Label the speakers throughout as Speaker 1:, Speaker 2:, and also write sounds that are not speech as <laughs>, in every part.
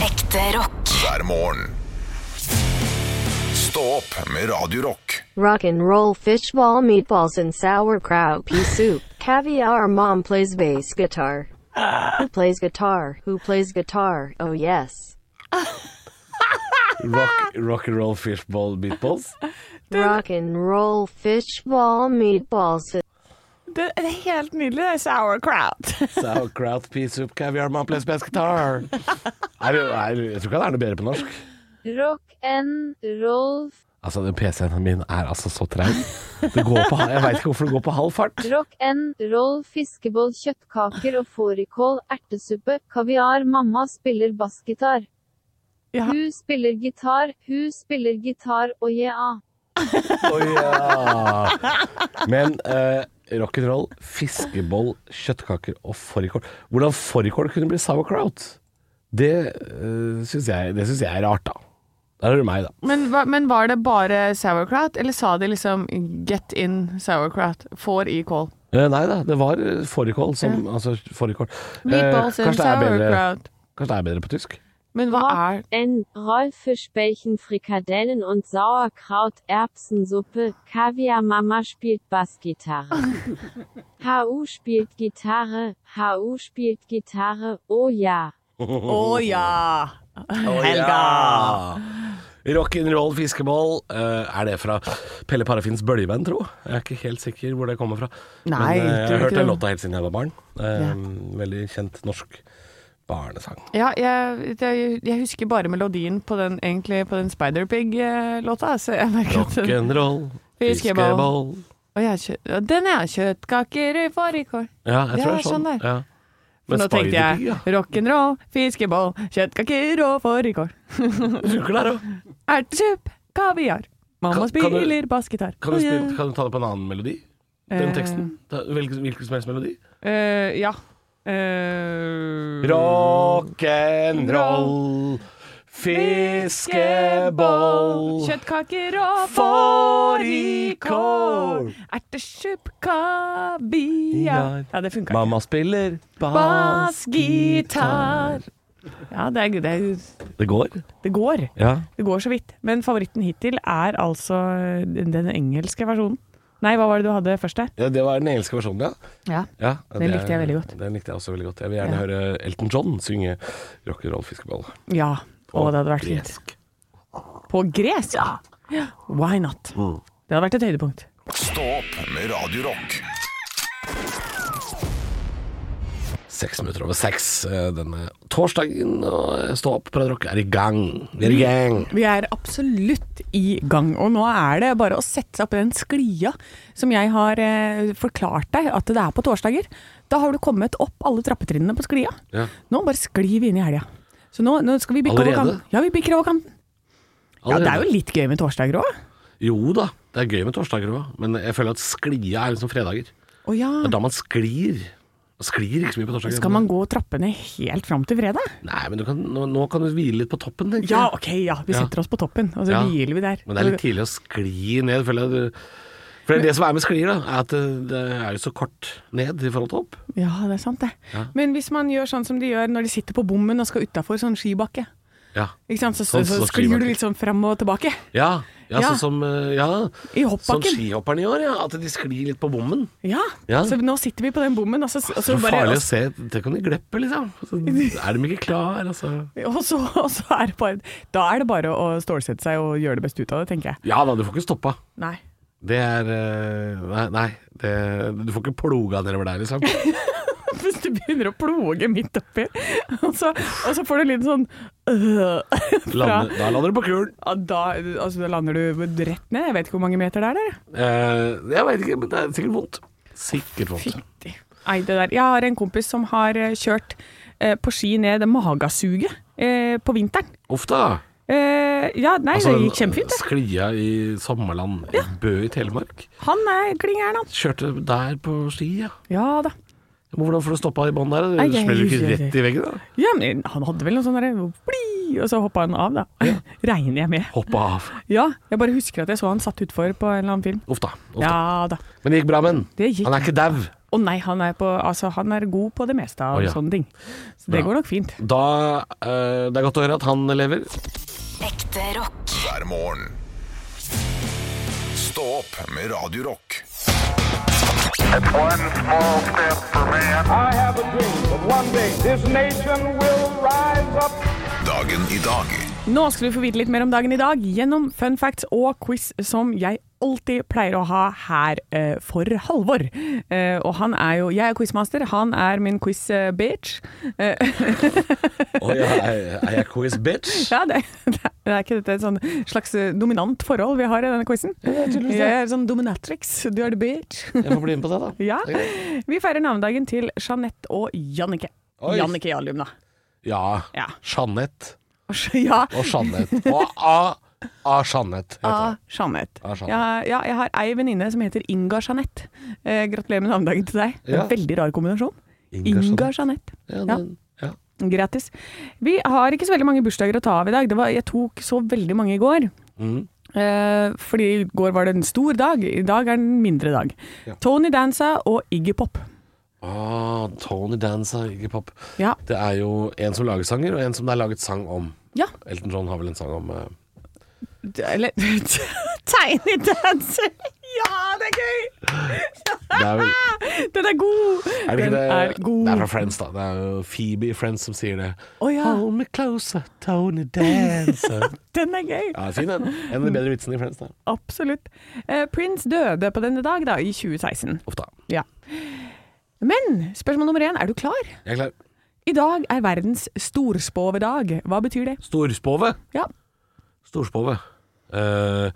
Speaker 1: Ekte rock.
Speaker 2: hver morgen. Stå opp med Radio Rock.
Speaker 3: Rock and roll fishball meatballs and sauerkraut pea soup. Caviar mom plays bass guitar. Who plays guitar? Who plays guitar? Oh yes.
Speaker 4: Rock, rock and roll fishball meatballs.
Speaker 3: Rock and roll fishball meatballs. and-
Speaker 5: Det, det er helt nydelig, det er sauerkraut. <laughs>
Speaker 4: Sauerkraut, pea soup, caviar, man plays bass guitar. Er, det- er, jeg tror ikke det er noe bedre på norsk.
Speaker 6: Rock and roll
Speaker 4: Altså, den PC-en min er altså så traum. Det går på, jeg veit ikke hvorfor det går på halv fart.
Speaker 6: Rock and roll, fiskeboll, kjøttkaker og fårikål, ertesuppe, kaviar, mamma spiller bassgitar.
Speaker 5: Ja.
Speaker 6: Hun spiller gitar, hun spiller gitar, og ja.
Speaker 4: Oi, ja. Men uh, rock'n'roll, fiskeboll, kjøttkaker og fårikål. Hvordan fårikål kunne bli sauerkraut, det uh, syns jeg, det synes jeg er rart, da. Der er det meg, da.
Speaker 5: Men, hva- men var det bare sauerkraut, eller sa de liksom 'get in sauerkraut'? Får i kål.
Speaker 4: Eh, nei da, det var eh, fårikål som Altså fårikål. Eh,
Speaker 5: Meatballs and
Speaker 4: kanskje, det er bedre,
Speaker 5: sauerkraut.
Speaker 4: kanskje det er bedre på tysk?
Speaker 5: Men hva er
Speaker 6: N. Rollfischbällchen, Frikadellen und Sauerkraut, Erbsensuppe, Kaviar, Mama spielt Bassgitarre. HU spielt Gitarre, HU spielt Gitarre, oh ja.
Speaker 5: Å ja! Helga!
Speaker 4: Rock'n'roll fiskeboll, eh, er det fra Pelle Parafins bøljeband, tro? Jeg er ikke helt sikker hvor det kommer fra.
Speaker 5: Nei,
Speaker 4: Men eh, jeg
Speaker 5: tror
Speaker 4: har
Speaker 5: ikke
Speaker 4: hørt den
Speaker 5: det.
Speaker 4: låta helt siden jeg var barn. Eh, Veldig kjent norsk
Speaker 5: <laughs>
Speaker 4: barnesang.
Speaker 5: Ja, jeg, det- jeg husker bare melodien på den, egentlig, på den Spiderpig-låta, så jeg merker at den
Speaker 4: Rock'n'roll
Speaker 5: Fiskeboll.
Speaker 4: fiskeboll.
Speaker 5: Å, jeg, kjø- ja, Den er kjøttkaker i fårikål.
Speaker 4: Ja, jeg
Speaker 5: Ja,
Speaker 4: tror det er sånn.
Speaker 5: sånn der.
Speaker 4: Ja.
Speaker 5: For nå tenkte
Speaker 4: Spider-Pig,
Speaker 5: jeg rock'n'roll, fiskeboll, kjøttkaker og fårikål.
Speaker 4: ja. Funker der òg.
Speaker 5: Ertesupp, kaviar. Mamma
Speaker 4: Kan- kan du-
Speaker 5: spiller bassgitar.
Speaker 4: Kan, du
Speaker 5: Å, ja.
Speaker 4: spille- kan du ta det på en annen melodi? Den
Speaker 5: Eh.
Speaker 4: teksten? Ta- Hvilken hvilken som helst melodi?
Speaker 5: Eh, ja. Eh,
Speaker 4: Rock'n'roll, fiskeboll
Speaker 5: Kjøttkaker og
Speaker 4: Fårikål.
Speaker 5: fårikål. Ertesupp, kaviar. Ja, det funka.
Speaker 4: Mamma spiller
Speaker 5: Bassgitar. Ja, det, er, det, er,
Speaker 4: Det går.
Speaker 5: det går.
Speaker 4: Ja.
Speaker 5: Det går så vidt. Men favoritten hittil er altså den den engelske versjonen. Nei, hva var det du hadde først der?
Speaker 4: Det var den engelske versjonen, ja.
Speaker 5: Ja.
Speaker 4: ja
Speaker 5: Den likte jeg veldig godt.
Speaker 4: Den likte jeg også veldig godt. Jeg vil gjerne
Speaker 5: Ja.
Speaker 4: høre Elton John synge rock'n'roll fiskeboll.
Speaker 5: ja. Å, det hadde vært fint.
Speaker 4: Gresk.
Speaker 5: På gresk? Mm. Ja. Why not? Det hadde vært et høydepunkt.
Speaker 2: Stå opp med Radio Rock.
Speaker 4: Seks minutter over seks eh, denne torsdagen, og eh, Stå opp på Radio Rock er i gang. Vi er i gang.
Speaker 5: Vi er absolutt i gang, og nå er det bare å sette seg opp i den sklia som jeg har eh, forklart deg at det er på torsdager. Da har du kommet opp alle trappetrinnene på sklia.
Speaker 4: Ja.
Speaker 5: Nå bare sklir vi inn i helga. Så nå, nå skal vi bikke
Speaker 4: Allerede?
Speaker 5: over kanten. Ja, vi bikker over kanten. Ja, det er jo litt gøy med torsdager òg.
Speaker 4: Jo da, det er gøy med torsdager òg, men jeg føler at sklia er liksom fredager.
Speaker 5: Å ja.
Speaker 4: Det er da man sklir. Man sklir ikke så mye på torsdager.
Speaker 5: Skal man gå trappene helt fram til fredag?
Speaker 4: Nei, men du kan, nå, nå kan du hvile litt på toppen, tenker
Speaker 5: Ja,
Speaker 4: jeg.
Speaker 5: ok, ja. Vi
Speaker 4: Ja.
Speaker 5: setter oss på toppen, og så
Speaker 4: Ja.
Speaker 5: hviler vi der.
Speaker 4: Men det er litt tidlig å skli ned, føler jeg. For det, er det som er med sklier, da, er at det, det er jo så kort ned i forhold til opp.
Speaker 5: Ja, det er sant det. Men hvis man gjør sånn som de gjør når de sitter på bommen og skal utafor sånn skibakke,
Speaker 4: Ja.
Speaker 5: ikke sant? Så, så,
Speaker 4: Sånn
Speaker 5: så
Speaker 4: som
Speaker 5: sklir
Speaker 4: skibakke.
Speaker 5: du litt sånn fram og tilbake.
Speaker 4: Ja, ja,
Speaker 5: Ja.
Speaker 4: sånn som eh, Ja.
Speaker 5: I
Speaker 4: Sånn
Speaker 5: hoppbakken.
Speaker 4: skihopperne i år, ja. At de sklir litt på bommen.
Speaker 5: Ja.
Speaker 4: Ja.
Speaker 5: Så nå sitter vi på den bommen, og så, og så,
Speaker 4: Så
Speaker 5: bare,
Speaker 4: farlig
Speaker 5: og,
Speaker 4: å se. Tenk om de glepper, liksom. Så er de ikke klar, altså.
Speaker 5: og så, og så er det bare Da er det bare å stålsette seg og gjøre det beste ut av det, tenker jeg.
Speaker 4: Ja da, du får ikke stoppa.
Speaker 5: Nei.
Speaker 4: Det er eh, Nei, nei det, du får ikke ploga nedover der,
Speaker 5: <laughs>
Speaker 4: liksom.
Speaker 5: <laughs> Hvis du begynner å ploge midt oppi, <laughs> og så, og så får du litt sånn øh, <laughs> fra,
Speaker 4: Lande, da lander du på kulen.
Speaker 5: ja, da, altså, da lander du rett ned. Jeg vet ikke hvor mange meter det er der.
Speaker 4: Eh, jeg veit ikke, men det er sikkert vondt. Sikkert vondt.
Speaker 5: Fytti. Nei, det der. Jeg har en kompis som har eh, kjørt eh, på ski ned magasuget eh, på vinteren.
Speaker 4: Uff da.
Speaker 5: Eh, ja, nei,
Speaker 4: Altså,
Speaker 5: det gikk kjempefint. Det.
Speaker 4: Sklia i Sommerland, i Bø i Telemark.
Speaker 5: Han er klin gæren, han.
Speaker 4: Kjørte der på ski, ja.
Speaker 5: Ja da.
Speaker 4: Men hvordan får du stoppa i bånn der?
Speaker 5: Ai,
Speaker 4: Du
Speaker 5: ai,
Speaker 4: smeller jo ikke
Speaker 5: ai, ai.
Speaker 4: rett i veggen, da.
Speaker 5: Ja, men han hadde vel noe sånn derre «Pli!» Og så hoppa han av, da. <laughs> Regner jeg med.
Speaker 4: Hoppa av.
Speaker 5: Ja, jeg bare husker at jeg så han satt utfor på en eller annen film.
Speaker 4: Uff da. Uff da.
Speaker 5: Ja da.
Speaker 4: Men det gikk bra, men.
Speaker 5: Det gikk
Speaker 4: Han er ikke dau.
Speaker 5: Å nei, han er, på, altså, han er god på det meste av
Speaker 4: Å, ja.
Speaker 5: sånne ting. Så det
Speaker 4: Bra.
Speaker 5: går nok fint.
Speaker 4: Da eh, Det er godt å høre at han lever.
Speaker 1: Ekte rock.
Speaker 2: hver morgen. Stå opp med Radio Rock.
Speaker 7: One small step for man.
Speaker 8: I have a dream that one day this nation will rise up.
Speaker 2: Dagen i dag
Speaker 5: Nå skal du få vite litt mer om dagen i dag gjennom fun facts og quiz som jeg alltid pleier å ha her eh, for Halvor. Eh, og han er jo Jeg er quizmaster, han er min eh, quiz-bitch.
Speaker 4: Oi, er, er jeg quiz bitch?
Speaker 5: Ja, det, <laughs> det er ikke dette et sånn slags eh, dominant forhold vi har i denne quizen? Jeg er sånn dominatrix, du er the bitch.
Speaker 4: Jeg får bli med på det, da.
Speaker 5: <laughs> Ja. Vi feirer navnedagen til Jeanette og Jannicke.
Speaker 4: Oi.
Speaker 5: Jannicke Jarlum, da.
Speaker 4: Ja.
Speaker 5: Ja.
Speaker 4: Jeanette
Speaker 5: <laughs> Ja.
Speaker 4: og Jeanette. Og A. A. Jeanette heter
Speaker 5: Ah,
Speaker 4: det.
Speaker 5: Jeanette.
Speaker 4: Ah, Jeanette.
Speaker 5: Ja, ja, jeg har ei venninne som heter Inga Jeanette. Eh, gratulerer med navnedagen til deg. Det er
Speaker 4: Ja.
Speaker 5: en Veldig rar kombinasjon.
Speaker 4: Inga
Speaker 5: Inga,
Speaker 4: Jeanette.
Speaker 5: Jeanette.
Speaker 4: Ja,
Speaker 5: Ja.
Speaker 4: den- ja.
Speaker 5: Grattis. Vi har ikke så veldig mange bursdager å ta av i dag. Det var, jeg tok så veldig mange i går.
Speaker 4: Mm.
Speaker 5: Eh, fordi i går var det en stor dag. I dag er det en mindre dag. Tony Danza og Iggy Pop.
Speaker 4: Ah, Tony Danza, Iggy Pop.
Speaker 5: Ja.
Speaker 4: Det er jo en som lager sanger, og en som det er laget sang om.
Speaker 5: ja.
Speaker 4: Elton John har vel en sang om eh,
Speaker 5: d- Eller <laughs> Tiny Dancer! Ja, det er gøy!
Speaker 4: Det er vel
Speaker 5: <laughs> Den er god!
Speaker 4: Er det ikke
Speaker 5: Den
Speaker 4: det?
Speaker 5: er god.
Speaker 4: det er fra Friends, da. Det er jo Phoebe i Friends som sier det.
Speaker 5: Å ja.
Speaker 4: Hold me closer, Tony
Speaker 5: <laughs>
Speaker 4: Dancer.
Speaker 5: Den er gøy.
Speaker 4: ja, fin den. En av de bedre vitsene i Friends, da.
Speaker 5: Absolutt. Eh, Prince døde på denne dag, da, i 2016.
Speaker 4: Uff da.
Speaker 5: Ja. Men spørsmål nummer én, er du klar?
Speaker 4: Jeg er klar.
Speaker 5: I dag er verdens storspåvedag. Hva betyr det?
Speaker 4: Storspove.
Speaker 5: Ja.
Speaker 4: Storspove. Eh,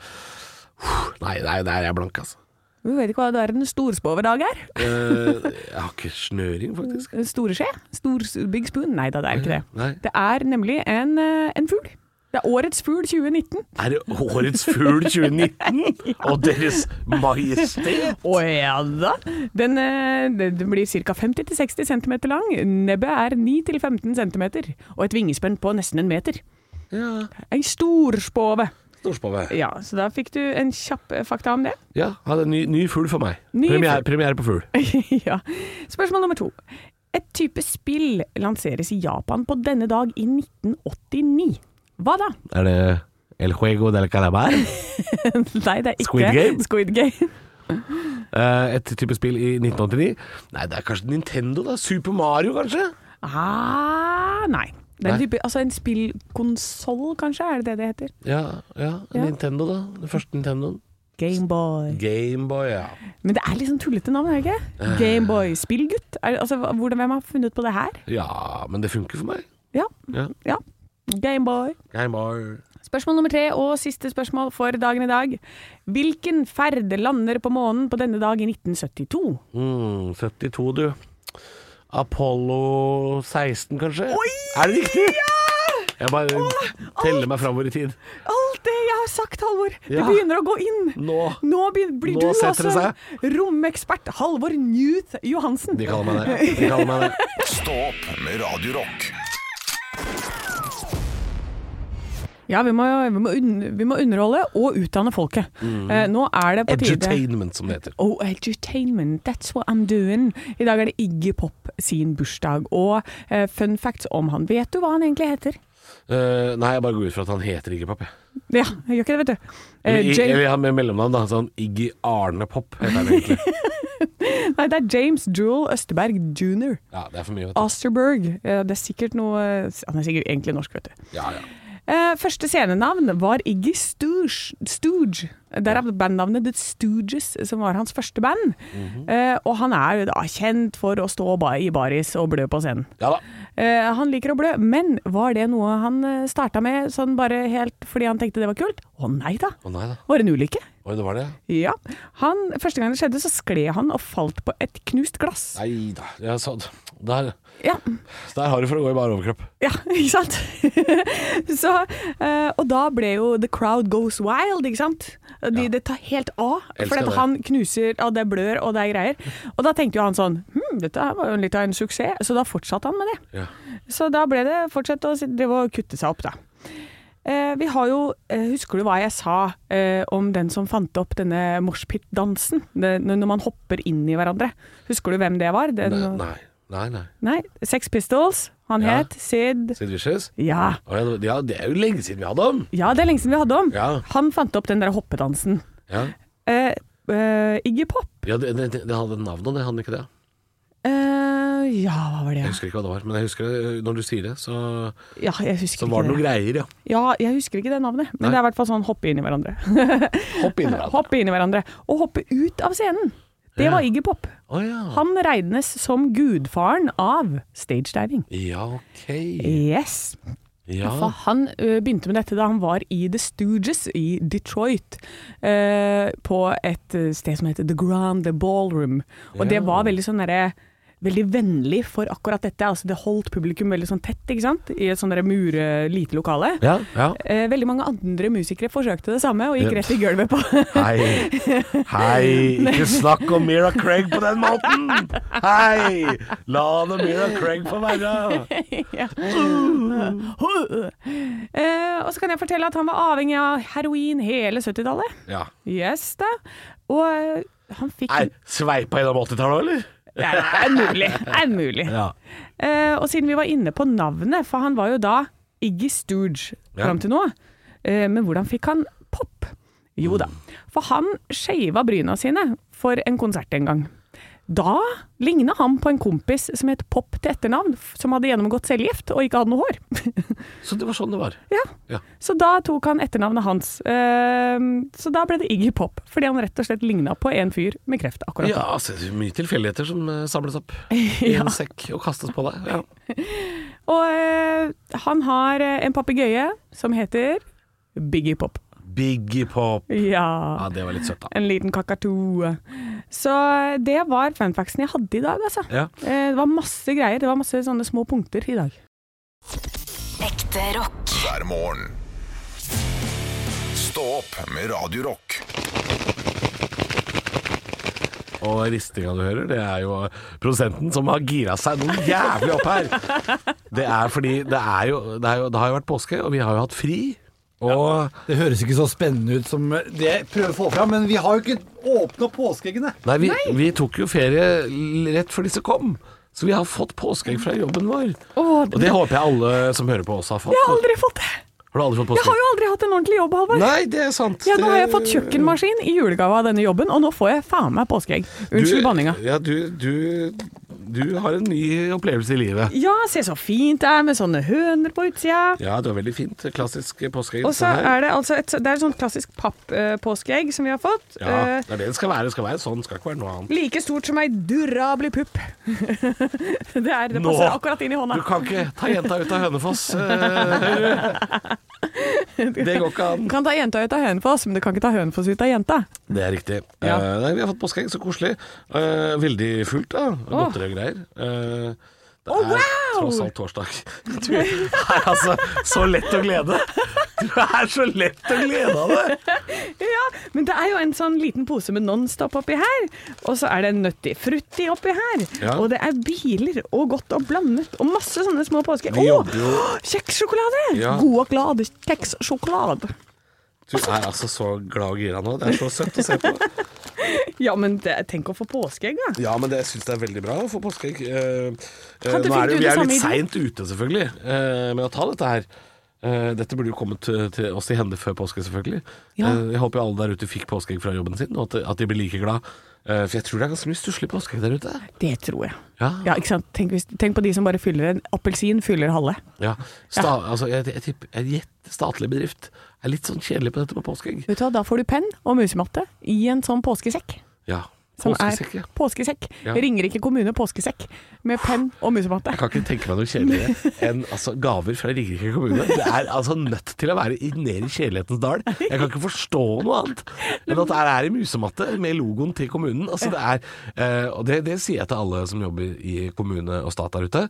Speaker 4: nei, nei, der er jeg blank, altså.
Speaker 5: Du vet ikke hva verdens storspåvedag er?
Speaker 4: Eh, jeg har ikke snøring, faktisk.
Speaker 5: Storeskje? Stor big spoon? Nei da, det er ikke det.
Speaker 4: Nei.
Speaker 5: Det er nemlig en, eh, en fugl. Det er årets fugl 2019.
Speaker 4: Er det årets <laughs> fugl 2019? Og Deres Majestet?
Speaker 5: Å ja da! Den, eh, den blir ca. 50-60 cm lang. Nebbet er 9-15 cm, og et vingespenn på nesten en meter.
Speaker 4: Ja.
Speaker 5: Ei storspåve.
Speaker 4: Storspove.
Speaker 5: Ja, så da fikk du en kjapp eh, fakta om det.
Speaker 4: Ja, ha det. Ny, ny fugl for meg.
Speaker 5: Ny
Speaker 4: Premiere,
Speaker 5: fugl.
Speaker 4: premiere på fugl.
Speaker 5: <laughs> ja. Spørsmål nummer to. Et type spill lanseres i Japan på denne dag i 1989. Hva da? <laughs>
Speaker 4: Er det El Juego del Calamar?
Speaker 5: Nei, det er ikke
Speaker 4: Squid Game?
Speaker 5: Squid Game. <laughs>
Speaker 4: Eh, Et type spill i 1989? Nei, det er kanskje Nintendo, da. Super Mario, kanskje?
Speaker 5: Ah, nei. Det er en,
Speaker 4: Nei.
Speaker 5: type, altså en spillkonsoll, kanskje? Er det det det heter?
Speaker 4: Ja, ja,
Speaker 5: Ja.
Speaker 4: Nintendo, da. Den første Nintendoen.
Speaker 5: Gameboy.
Speaker 4: Gameboy, ja.
Speaker 5: Men det er litt sånn tullete navn, er det ikke?
Speaker 4: Eh.
Speaker 5: Gameboy. Spillgutt? Er, altså, hva- hvordan, hvem har funnet på det her?
Speaker 4: Ja, men det funker for meg.
Speaker 5: Ja.
Speaker 4: Ja.
Speaker 5: ja. Gameboy.
Speaker 4: Gameboy.
Speaker 5: Spørsmål nummer tre og siste spørsmål for dagen i dag. Hvilken ferd lander på månen på denne dag i 1972?
Speaker 4: Mm, 72, du. Apollo 16, kanskje? Er det riktig? Jeg bare teller meg framover i tid.
Speaker 5: Alt det jeg har sagt, Halvor! Det
Speaker 4: Ja.
Speaker 5: begynner å gå inn!
Speaker 4: Nå.
Speaker 5: Nå begyn- blir
Speaker 4: Nå
Speaker 5: du
Speaker 4: setter
Speaker 5: altså
Speaker 4: det
Speaker 5: romekspert Halvor Newth Johansen.
Speaker 4: De kaller meg det. De kaller
Speaker 5: <laughs>
Speaker 4: meg det.
Speaker 2: Stå opp med Radio Rock
Speaker 5: Ja, vi må, vi, må un vi må underholde og utdanne folket.
Speaker 4: Mm.
Speaker 5: Eh, nå er det på tide
Speaker 4: Edutainment, som det heter.
Speaker 5: Oh, edutainment, that's what I'm doing. I dag er det Iggy Pop sin bursdag. Og eh, fun facts om han. Vet du hva han egentlig heter?
Speaker 4: Eh, nei, jeg bare går ut fra at han heter Iggy Pop. jeg.
Speaker 5: Ja, jeg gjør ikke det, vet du. Eh,
Speaker 4: Eller, I-
Speaker 5: Jay-
Speaker 4: eller han med mellomnavn, da. Sånn Iggy Arne Pop heter han
Speaker 5: <laughs>
Speaker 4: egentlig.
Speaker 5: Nei, det er James Jewel Østerberg jr.
Speaker 4: Ja, det er for mye, vet du.
Speaker 5: Osterberg. Eh, Det er sikkert noe Han er sikkert egentlig norsk, vet du.
Speaker 4: Ja, ja.
Speaker 5: Eh, Første scenenavn var Iggy Stooge. Stooge. Derav bandnavnet The Stooges, som var hans første band.
Speaker 4: Mhm.
Speaker 5: Eh, Og han er jo da kjent for å stå ba- i baris og blø på scenen.
Speaker 4: ja da.
Speaker 5: Eh, Han liker å blø, men var det noe han starta med sånn bare helt fordi han tenkte det var kult? Å nei da!
Speaker 4: Å nei da.
Speaker 5: Var det en ulykke?
Speaker 4: Oi, det var det.
Speaker 5: Ja. Han, første gang det skjedde, så skled han og falt på et knust glass.
Speaker 4: Nei da. Ja, så, der,
Speaker 5: Ja,
Speaker 4: der har du for å gå i bare overkropp.
Speaker 5: Ja, <laughs> ikke sant? så, eh, og da ble jo The Crowd Goes Wild, ikke sant? De, Det tar helt av,
Speaker 4: Elsker
Speaker 5: for at
Speaker 4: det.
Speaker 5: han knuser, og det blør, og det er greier. Og da tenkte jo han sånn Hm, dette her var jo litt av en suksess, så da fortsatte han med det.
Speaker 4: Ja.
Speaker 5: Så da ble det fortsette å si- drive og kutte seg opp, da. eh, vi har jo eh, Husker du hva jeg sa eh, om den som fant opp denne moshpit-dansen? Det- Når man hopper inn i hverandre. Husker du hvem det var? Den,
Speaker 4: Nei, nei. nei, nei.
Speaker 5: Nei, Sex Pistols. Han
Speaker 4: Ja.
Speaker 5: het Sid
Speaker 4: Sid Vicious?
Speaker 5: ja.
Speaker 4: Å, ja, det- Ja, det er jo lenge siden vi hadde ham.
Speaker 5: ja, det er lenge siden vi hadde om.
Speaker 4: Ja.
Speaker 5: Han fant opp den der hoppedansen.
Speaker 4: Ja,
Speaker 5: Eh, eh, Iggy Pop.
Speaker 4: ja det, det, det hadde navnet, det hadde ikke det.
Speaker 5: Eh, ja, hva var det?
Speaker 4: Jeg husker ikke hva det var, men jeg husker det når du sier det, så,
Speaker 5: Ja, jeg husker
Speaker 4: så var det
Speaker 5: ikke
Speaker 4: noen
Speaker 5: det.
Speaker 4: greier, ja.
Speaker 5: Ja, jeg husker ikke det navnet,
Speaker 4: Nei.
Speaker 5: men det er i hvert fall sånn hoppe inn i hverandre. <laughs>
Speaker 4: Hopp inn i hverandre.
Speaker 5: hoppe inn i hverandre. Og hoppe ut av scenen. Det
Speaker 4: Ja.
Speaker 5: var Iggy Pop.
Speaker 4: Å ja.
Speaker 5: Han regnes som gudfaren av stagediving.
Speaker 4: Ja, ok.
Speaker 5: Eh, Yes.
Speaker 4: Ja.
Speaker 5: For han ø, begynte med dette da han var i The Stooges i Detroit. ø, på et ø, sted som heter The Grand Ballroom. Og det var veldig sånn derre Veldig vennlig for akkurat dette. Altså, det holdt publikum veldig sånn tett, ikke sant? I et sånn derre mure, lite lokale.
Speaker 4: Ja, ja.
Speaker 5: Eh, veldig mange andre musikere forsøkte det samme og gikk
Speaker 4: Ja.
Speaker 5: rett i gulvet på. <laughs>
Speaker 4: Hei. Hei, ikke snakk om Mira Craig på den måten! Hei! La det Mira Craig få være.
Speaker 5: Ja. Eh, og så kan jeg fortelle at han var avhengig av heroin hele 70-tallet.
Speaker 4: Ja.
Speaker 5: Yes da. Og eh, han fikk
Speaker 4: Nei, sveipa gjennom 80-tallet òg, eller?
Speaker 5: Nei, det er mulig. Det er mulig.
Speaker 4: Ja.
Speaker 5: Eh, og siden vi var inne på navnet, for han var jo da Iggy Stooge
Speaker 4: Ja.
Speaker 5: fram til nå. Eh, men hvordan fikk han pop? Jo
Speaker 4: Mm.
Speaker 5: da, for han skeiva bryna sine for en konsert en gang. Da ligna han på en kompis som het Pop til etternavn, f- som hadde gjennomgått cellegift og ikke hadde noe hår. <laughs>
Speaker 4: Så det var sånn det var.
Speaker 5: ja.
Speaker 4: Ja.
Speaker 5: Så da tok han etternavnet hans. Eh, så da ble det Iggy Pop, fordi han rett og slett ligna på en fyr med kreft akkurat
Speaker 4: Ja, altså, det er mye tilfeldigheter som eh, samles opp i en sekk og kastes på deg. Ja.
Speaker 5: Og eh, han har eh, en papegøye som heter Biggie Pop.
Speaker 4: Biggie Pop.
Speaker 5: Ja.
Speaker 4: Ja, det var litt søtt, da.
Speaker 5: En liten kakatue. Så eh, det var funfactsen jeg hadde i dag, altså.
Speaker 4: Ja.
Speaker 5: Eh, Det var masse greier. Det var masse sånne små punkter i dag.
Speaker 1: Ekte rock.
Speaker 2: hver morgen. Stå opp med Radio Rock.
Speaker 4: Og ristinga du hører, det er jo produsenten som har gira seg noe jævlig opp her. Det er fordi det er jo Det, er jo, det har jo vært påske, og vi har jo hatt fri. Og
Speaker 9: Det høres ikke så spennende ut som det jeg prøver å få fram, men vi har jo ikke åpna påskeeggene.
Speaker 4: Nei, vi, vi tok jo ferie l- rett før disse kom. Så vi har fått påskeegg fra jobben vår.
Speaker 5: Åh,
Speaker 4: og det håper jeg alle som hører på også har fått.
Speaker 5: Jeg har aldri fått det!
Speaker 4: Har du aldri fått
Speaker 5: Jeg har
Speaker 4: påskeegg?
Speaker 5: jo aldri hatt en ordentlig jobb, Halvor.
Speaker 4: Nei, det er sant.
Speaker 5: Ja, nå har jeg
Speaker 4: Det-
Speaker 5: fått kjøkkenmaskin i julegave av denne jobben, og nå får jeg faen meg påskeegg.
Speaker 4: Du-
Speaker 5: Unnskyld banninga.
Speaker 4: Ja, du, du, du har en ny opplevelse i livet.
Speaker 5: Ja, se så fint det er med sånne høner på utsida.
Speaker 4: Ja, det var veldig fint. Klassisk påskeegg.
Speaker 5: Og så
Speaker 4: Sånn her.
Speaker 5: er det altså et, det er et sånt klassisk papppåskeegg som vi har fått.
Speaker 4: Ja,
Speaker 5: Eh,
Speaker 4: det er det det skal være. Det skal være sånn, det skal ikke være noe annet.
Speaker 5: Like stort som ei durabelig pupp. <laughs> det, er, det
Speaker 4: Nå!
Speaker 5: passer akkurat inn i hånda.
Speaker 4: Du kan ikke ta jenta ut av
Speaker 5: <laughs>
Speaker 4: Hønefoss. eh, Det går ikke an.
Speaker 5: Du kan ta jenta ut av Hønefoss, men du kan ikke ta Hønefoss ut av jenta.
Speaker 4: Det er riktig.
Speaker 5: Ja.
Speaker 4: Eh, nei, vi har fått påskeegg, så koselig. Eh, veldig fullt, da. Godteri og greier. Eh, det
Speaker 5: Å, wow!
Speaker 4: tross alt torsdag. <laughs> Du er altså så lett å glede. Du er så lett å glede av det.
Speaker 5: Ja, Men det er jo en sånn liten pose med Nonstop oppi her, og så er det Nøtti Frutti oppi her.
Speaker 4: Ja.
Speaker 5: Og det er biler og godt og blandet og masse sånne små påske...
Speaker 4: Vi
Speaker 5: Å,
Speaker 4: jobber jo-
Speaker 5: kjekssjokolade!
Speaker 4: Ja.
Speaker 5: God og glad kjekssjokolade.
Speaker 4: Du er altså så glad og gira nå. Det er så søtt å se på.
Speaker 5: Ja, men det, tenk å få påskeegg, da.
Speaker 4: Ja, men det, jeg syns det er veldig bra å få påskeegg. Eh, eh,
Speaker 5: Kan du
Speaker 4: nå
Speaker 5: finne
Speaker 4: er det,
Speaker 5: ut
Speaker 4: vi
Speaker 5: det
Speaker 4: er jo
Speaker 5: samme i
Speaker 4: litt
Speaker 5: den?
Speaker 4: seint ute, selvfølgelig, eh, med å ta dette her. Eh, dette burde jo kommet til, til oss i hende før påske, selvfølgelig.
Speaker 5: Ja.
Speaker 4: Eh, jeg håper jo alle der ute fikk påskeegg fra jobben sin, og at, at de blir like glad. Eh, for jeg tror det er ganske mye stusslig påskeegg der ute.
Speaker 5: Det tror jeg.
Speaker 4: Ja.
Speaker 5: Ja, ikke sant? Tenk, hvis, tenk på de som bare fyller en appelsin, fyller halve.
Speaker 4: Ja. Sta, Altså, jeg, jeg tipper jeg gjetter statlig bedrift er litt sånn kjedelig på dette med påskeegg.
Speaker 5: Vet du hva, da får du penn og musematte i en sånn påskesekk.
Speaker 4: Ja.
Speaker 5: Som
Speaker 4: Påskesekk, ja.
Speaker 5: er påskesekk.
Speaker 4: Ja.
Speaker 5: Ringerike kommune påskesekk med penn og musematte.
Speaker 4: Jeg kan ikke tenke meg noe kjedeligere enn altså, gaver fra Ringerike kommune. Det er altså nødt til å være i- nede i kjedelighetens dal. Jeg kan ikke forstå noe annet enn at her er en musematte med logoen til kommunen. Altså, det er, eh, og det, det sier jeg til alle som jobber i kommune og stat der ute.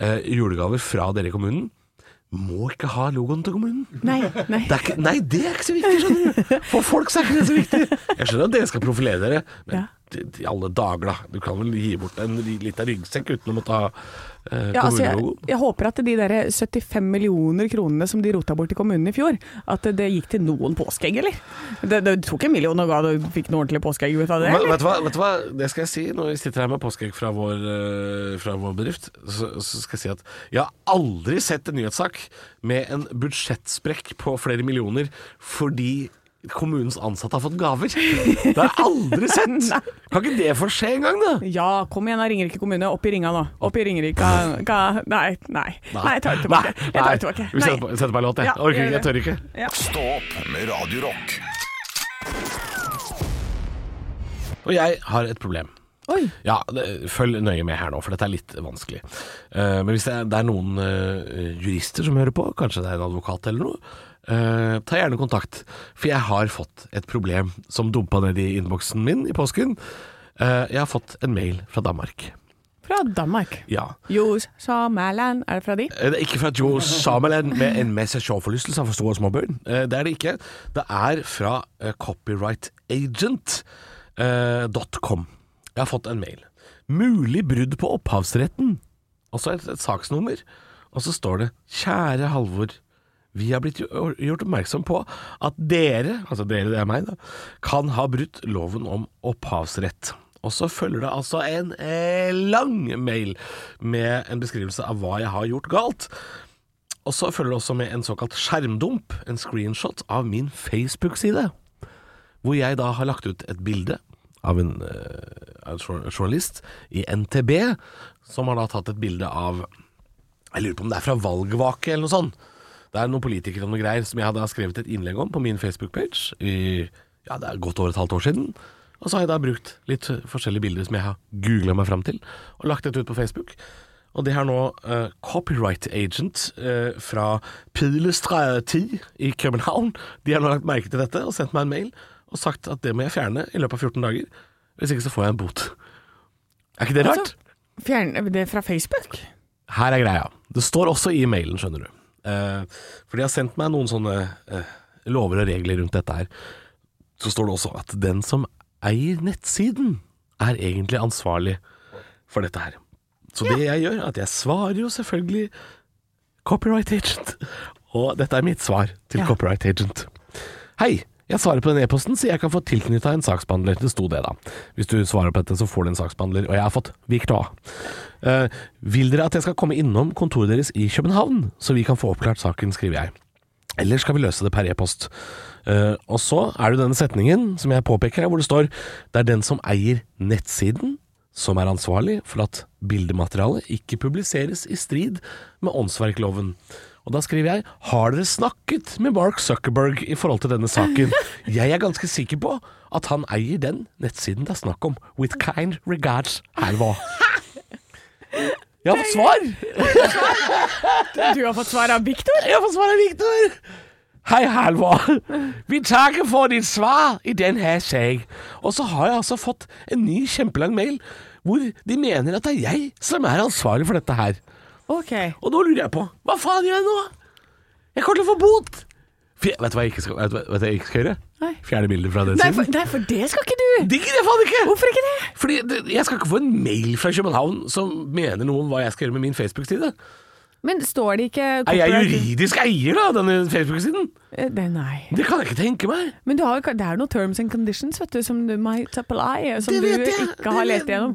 Speaker 4: Eh, julegaver fra dere i kommunen må ikke ha logoen til kommunen.
Speaker 5: Nei, nei.
Speaker 4: Det er ikke, nei, det er ikke så viktig, skjønner du. For folk så er ikke det så viktig. Jeg skjønner at dere skal profilere dere, men
Speaker 5: Ja.
Speaker 4: i- i alle dager, da. Du kan vel gi bort en ri- liten ryggsekk uten å måtte ha eh,
Speaker 5: Ja, altså, jeg,
Speaker 4: kommunelogo?
Speaker 5: jeg håper at de der 75 millioner kronene som de rota bort i kommunen i fjor, at det gikk til noen påskeegg, eller? Det, det tok en million og ga, du fikk noe ordentlig påskeegg ut av det,
Speaker 4: Men,
Speaker 5: eller?
Speaker 4: vet, du hva, vet du hva, det skal jeg si når vi sitter her med påskeegg fra, vår, eh, fra vår bedrift. Så, så skal jeg si at jeg har aldri sett en nyhetssak med en budsjettsprekk på flere millioner fordi kommunens ansatte har fått gaver. Det har jeg aldri
Speaker 5: <laughs>
Speaker 4: sett! Kan ikke det få skje engang, da?
Speaker 5: Ja, kom igjen da, Ringerike kommune. Opp i ringa nå. Opp i Ringerika ka, Nei, nei. Nei, jeg tar det tilbake. Jeg tar det tilbake.
Speaker 4: Vi setter
Speaker 5: Nei.
Speaker 4: på, setter på en låt, jeg.
Speaker 5: Ja,
Speaker 4: Orker
Speaker 5: gjør
Speaker 4: ikke, jeg tør ikke.
Speaker 2: Stå opp med Radio Rock.
Speaker 4: Og jeg har et problem.
Speaker 5: Oi.
Speaker 4: Ja, det, Følg nøye med her nå, for dette er litt vanskelig. Eh, men hvis det er, det er noen eh, jurister som hører på, kanskje det er en advokat eller noe, eh, ta gjerne kontakt. For jeg har fått et problem som dumpa ned i innboksen min i påsken. Eh, jeg har fått en mail fra Danmark.
Speaker 5: Fra Danmark.
Speaker 4: Ja.
Speaker 5: Jus Samerland. Er det fra de?
Speaker 4: Eh, Det er ikke fra Joe Samerland med en masse sjåforlystelse for store og små børn. Eh, Det er det ikke. Det er fra eh, copyrightagent.com. Jeg har fått en mail. Mulig brudd på opphavsretten. Og så et, et saksnummer. Og så står det 'Kjære Halvor'. Vi har blitt gjor- gjort oppmerksom på at dere, altså dere det er meg da, kan ha brutt loven om opphavsrett. Og så følger det altså en eh, lang mail med en beskrivelse av hva jeg har gjort galt. Og så følger det også med en såkalt skjermdump, en screenshot av min Facebook-side. Hvor jeg da har lagt ut et bilde av en, eh, av en jour- journalist i NTB, som har da tatt et bilde av jeg lurer på om det er fra valgvake eller noe sånt. Det er noen politikere og noe greier som jeg hadde skrevet et innlegg om på min Facebook-page i ja, det er godt over et halvt år siden. Og så har jeg da brukt litt forskjellige bilder som jeg har googla meg fram til, og lagt dette ut på Facebook. Og det har nå eh, Copyright Agent eh, fra Pilestra 10 i København De har nå lagt merke til dette og sendt meg en mail og sagt at det må jeg fjerne i løpet av 14 dager. Hvis ikke så får jeg en bot. Er ikke det rart?
Speaker 5: Fjern eh, det er fra Facebook?
Speaker 4: Her er greia. Det står også i mailen, skjønner du. Eh, for de har sendt meg noen sånne eh, lover og regler rundt dette her. Så står det også at den som eier nettsiden, er egentlig ansvarlig for dette her. Så det jeg gjør, er at jeg svarer jo selvfølgelig Copyright Agent. Og dette er mitt svar til
Speaker 5: Ja.
Speaker 4: Copyright Agent. Hei, jeg svarer på den e-posten, så jeg kan få tilknytta en saksbehandler. Det sto det, da. Hvis du svarer på dette, så får du en saksbehandler. Og jeg har fått Victor. Eh, vil dere at jeg skal komme innom kontoret deres i København, så vi kan få oppklart saken, skriver jeg. Eller skal vi løse det per e-post? Eh, og så er det denne setningen som jeg påpeker her, hvor det står det er den som eier nettsiden som er ansvarlig for at bildematerialet ikke publiseres i strid med åndsverkloven. Og da skriver jeg har dere snakket med Mark Zuckerberg i forhold til denne saken? Jeg er ganske sikker på at han eier den nettsiden det er snakk om. With kind regards, Halvor. Jeg har fått svar!
Speaker 5: Du har fått svar av Victor?
Speaker 4: Jeg får svar av Victor. Hei,
Speaker 5: <laughs>
Speaker 4: Halvor. Vi takker for ditt svar i den her sag. Og så har jeg altså fått en ny kjempelang mail hvor de mener at det er jeg som er ansvarlig for dette her.
Speaker 5: Ok.
Speaker 4: Og nå lurer jeg på hva faen gjør jeg nå? Jeg kommer til å få bot. Fy- Vet du hva jeg ikke skal, vet du, hva- vet du hva jeg ikke skal gjøre?
Speaker 5: Nei.
Speaker 4: Fjerne bilder fra den
Speaker 5: Nei for,
Speaker 4: siden.
Speaker 5: nei, for det skal ikke du!
Speaker 4: Det gidder jeg faen ikke!
Speaker 5: Hvorfor ikke det?
Speaker 4: Fordi det- Jeg skal ikke få en mail fra København som mener noe om hva jeg skal gjøre med min Facebook-side.
Speaker 5: Men står det ikke
Speaker 4: Er jeg
Speaker 5: copyright-
Speaker 4: juridisk eier da, av denne Facebook-siden?
Speaker 5: Eh, Det, nei.
Speaker 4: Det kan jeg ikke tenke meg.
Speaker 5: Men du har, jo- det er noen terms and conditions vet du, som du might apply, eh, som du ikke har lest gjennom.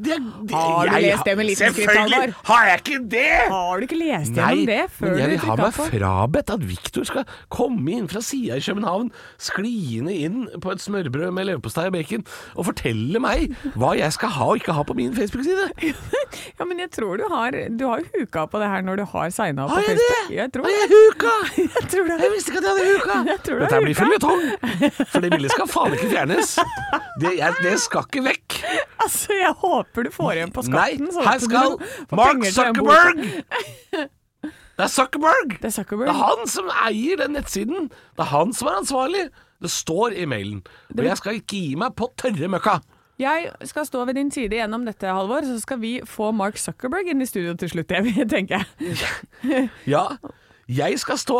Speaker 5: Har du lest det med liten skrift, Halvor?
Speaker 4: Selvfølgelig har jeg ikke det!
Speaker 5: Har du ikke lest
Speaker 4: Nei,
Speaker 5: gjennom det før
Speaker 4: men jeg
Speaker 5: du
Speaker 4: vil ha
Speaker 5: trykket
Speaker 4: meg
Speaker 5: på?
Speaker 4: frabedt at Viktor skal komme inn fra sida i København, skliende inn på et smørbrød med leverpostei og bacon, og fortelle meg hva jeg skal ha og ikke ha på min Facebook-side.
Speaker 5: Ja, men jeg tror du har Du har jo huka på det her når du har signa opp
Speaker 4: Har
Speaker 5: på
Speaker 4: jeg
Speaker 5: Facebook.
Speaker 4: det?
Speaker 5: Jeg tror
Speaker 4: Har
Speaker 5: det. <laughs>
Speaker 4: jeg huka?
Speaker 5: Jeg tror det.
Speaker 4: Jeg visste ikke at jeg hadde huka!
Speaker 5: <laughs> Jeg tror du
Speaker 4: Dette
Speaker 5: har
Speaker 4: her blir
Speaker 5: huka.
Speaker 4: føljetong, for det bildet skal faen ikke fjernes.
Speaker 5: <laughs>
Speaker 4: Det, jeg, det skal ikke vekk.
Speaker 5: Altså, jeg håper du får igjen på skatten.
Speaker 4: Nei,
Speaker 5: sånn
Speaker 4: her
Speaker 5: at du
Speaker 4: skal
Speaker 5: får
Speaker 4: Mark
Speaker 5: penger til den
Speaker 4: Zuckerberg
Speaker 5: boka.
Speaker 4: Det er Zuckerberg!
Speaker 5: Det er Zuckerberg.
Speaker 4: Det er han som eier den nettsiden. Det er han som er ansvarlig. Det står i mailen. Og jeg skal ikke gi meg på tørre møkka.
Speaker 5: Jeg skal stå ved din side gjennom dette, Halvor, så skal vi få Mark Zuckerberg inn i studio til slutt, jeg, <laughs> tenker jeg. <laughs>
Speaker 4: Ja, jeg skal stå